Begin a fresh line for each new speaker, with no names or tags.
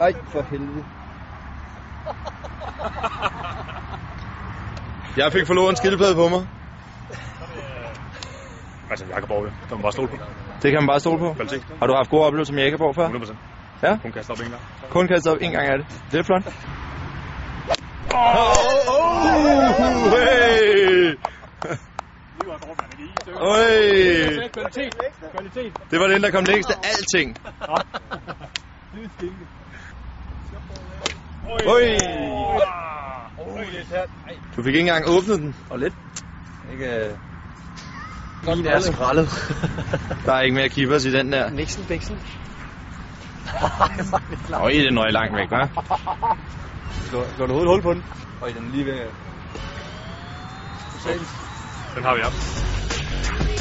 Ej, for helvede.
Jeg fik forlovet en skildpadde på mig. Altså, Jakob Aarhus, kan man bare stole på.
Det kan man bare stole på.
Kvalitet.
Har du haft gode oplevelser med Jækkeborg før?
100%.
Ja.
Hun kaster op en gang.
Kun kastet op en gang af det. Det er flot.
oh,
Uh, hey! Øj!
Kvalitet. Kvalitet.
Det var den, der kom længst af alting. Øj! Du fik ikke engang åbnet den.
Og lidt. Ikke... Øh...
Den er skrællet.
Der er ikke mere kippers i den der.
Nixon Bixen.
Øj, den røg langt væk, hva'?
Slår, slår du hovedet hul på den? Og den er lige ved...
Den har vi op.
Thank